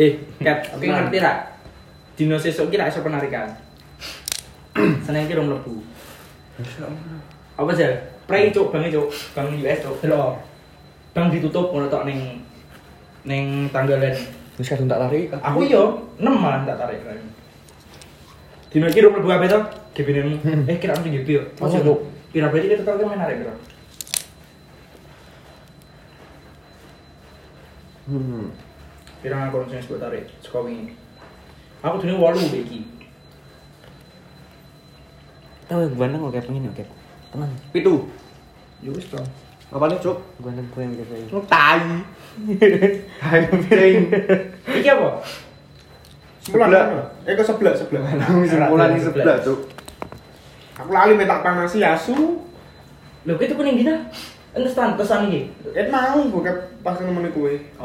Eh, Kat, Apa aku ngerti ra. Dino sesuk ki ra iso penarikan. Seneng ki rong mlebu. Hmm. Apa sih? Prank cuk, bangi cuk, bang US cuk. Delok. Bang ditutup ngono tok ning ning tanggalan. Terus kadung tak lari. Aku yo 6 malah tak tarik. Dino ki rong mlebu apa to? Gebinemu. Eh, kira aku ning yo. Oh, cuk. Kira berarti kita tetep main narik kira. Hmm. pirang aku sing sebut tarik saka wingi. Aku dene 8 iki. Tahu gue nang oke pengen ya, oke. Tenang. Pitu. Yo wis to. Apanya cuk? Gue nang gue mikir saya. Lu tai. Hai piring. Iki apa? Sebelah. Eh kok sebelah sebelah. Simpulan ini sebelah cuk. Aku lali minta panas ya su. Lho, itu kuning gina. Entus tan tesan iki. Eh mau gue pas nemu kue.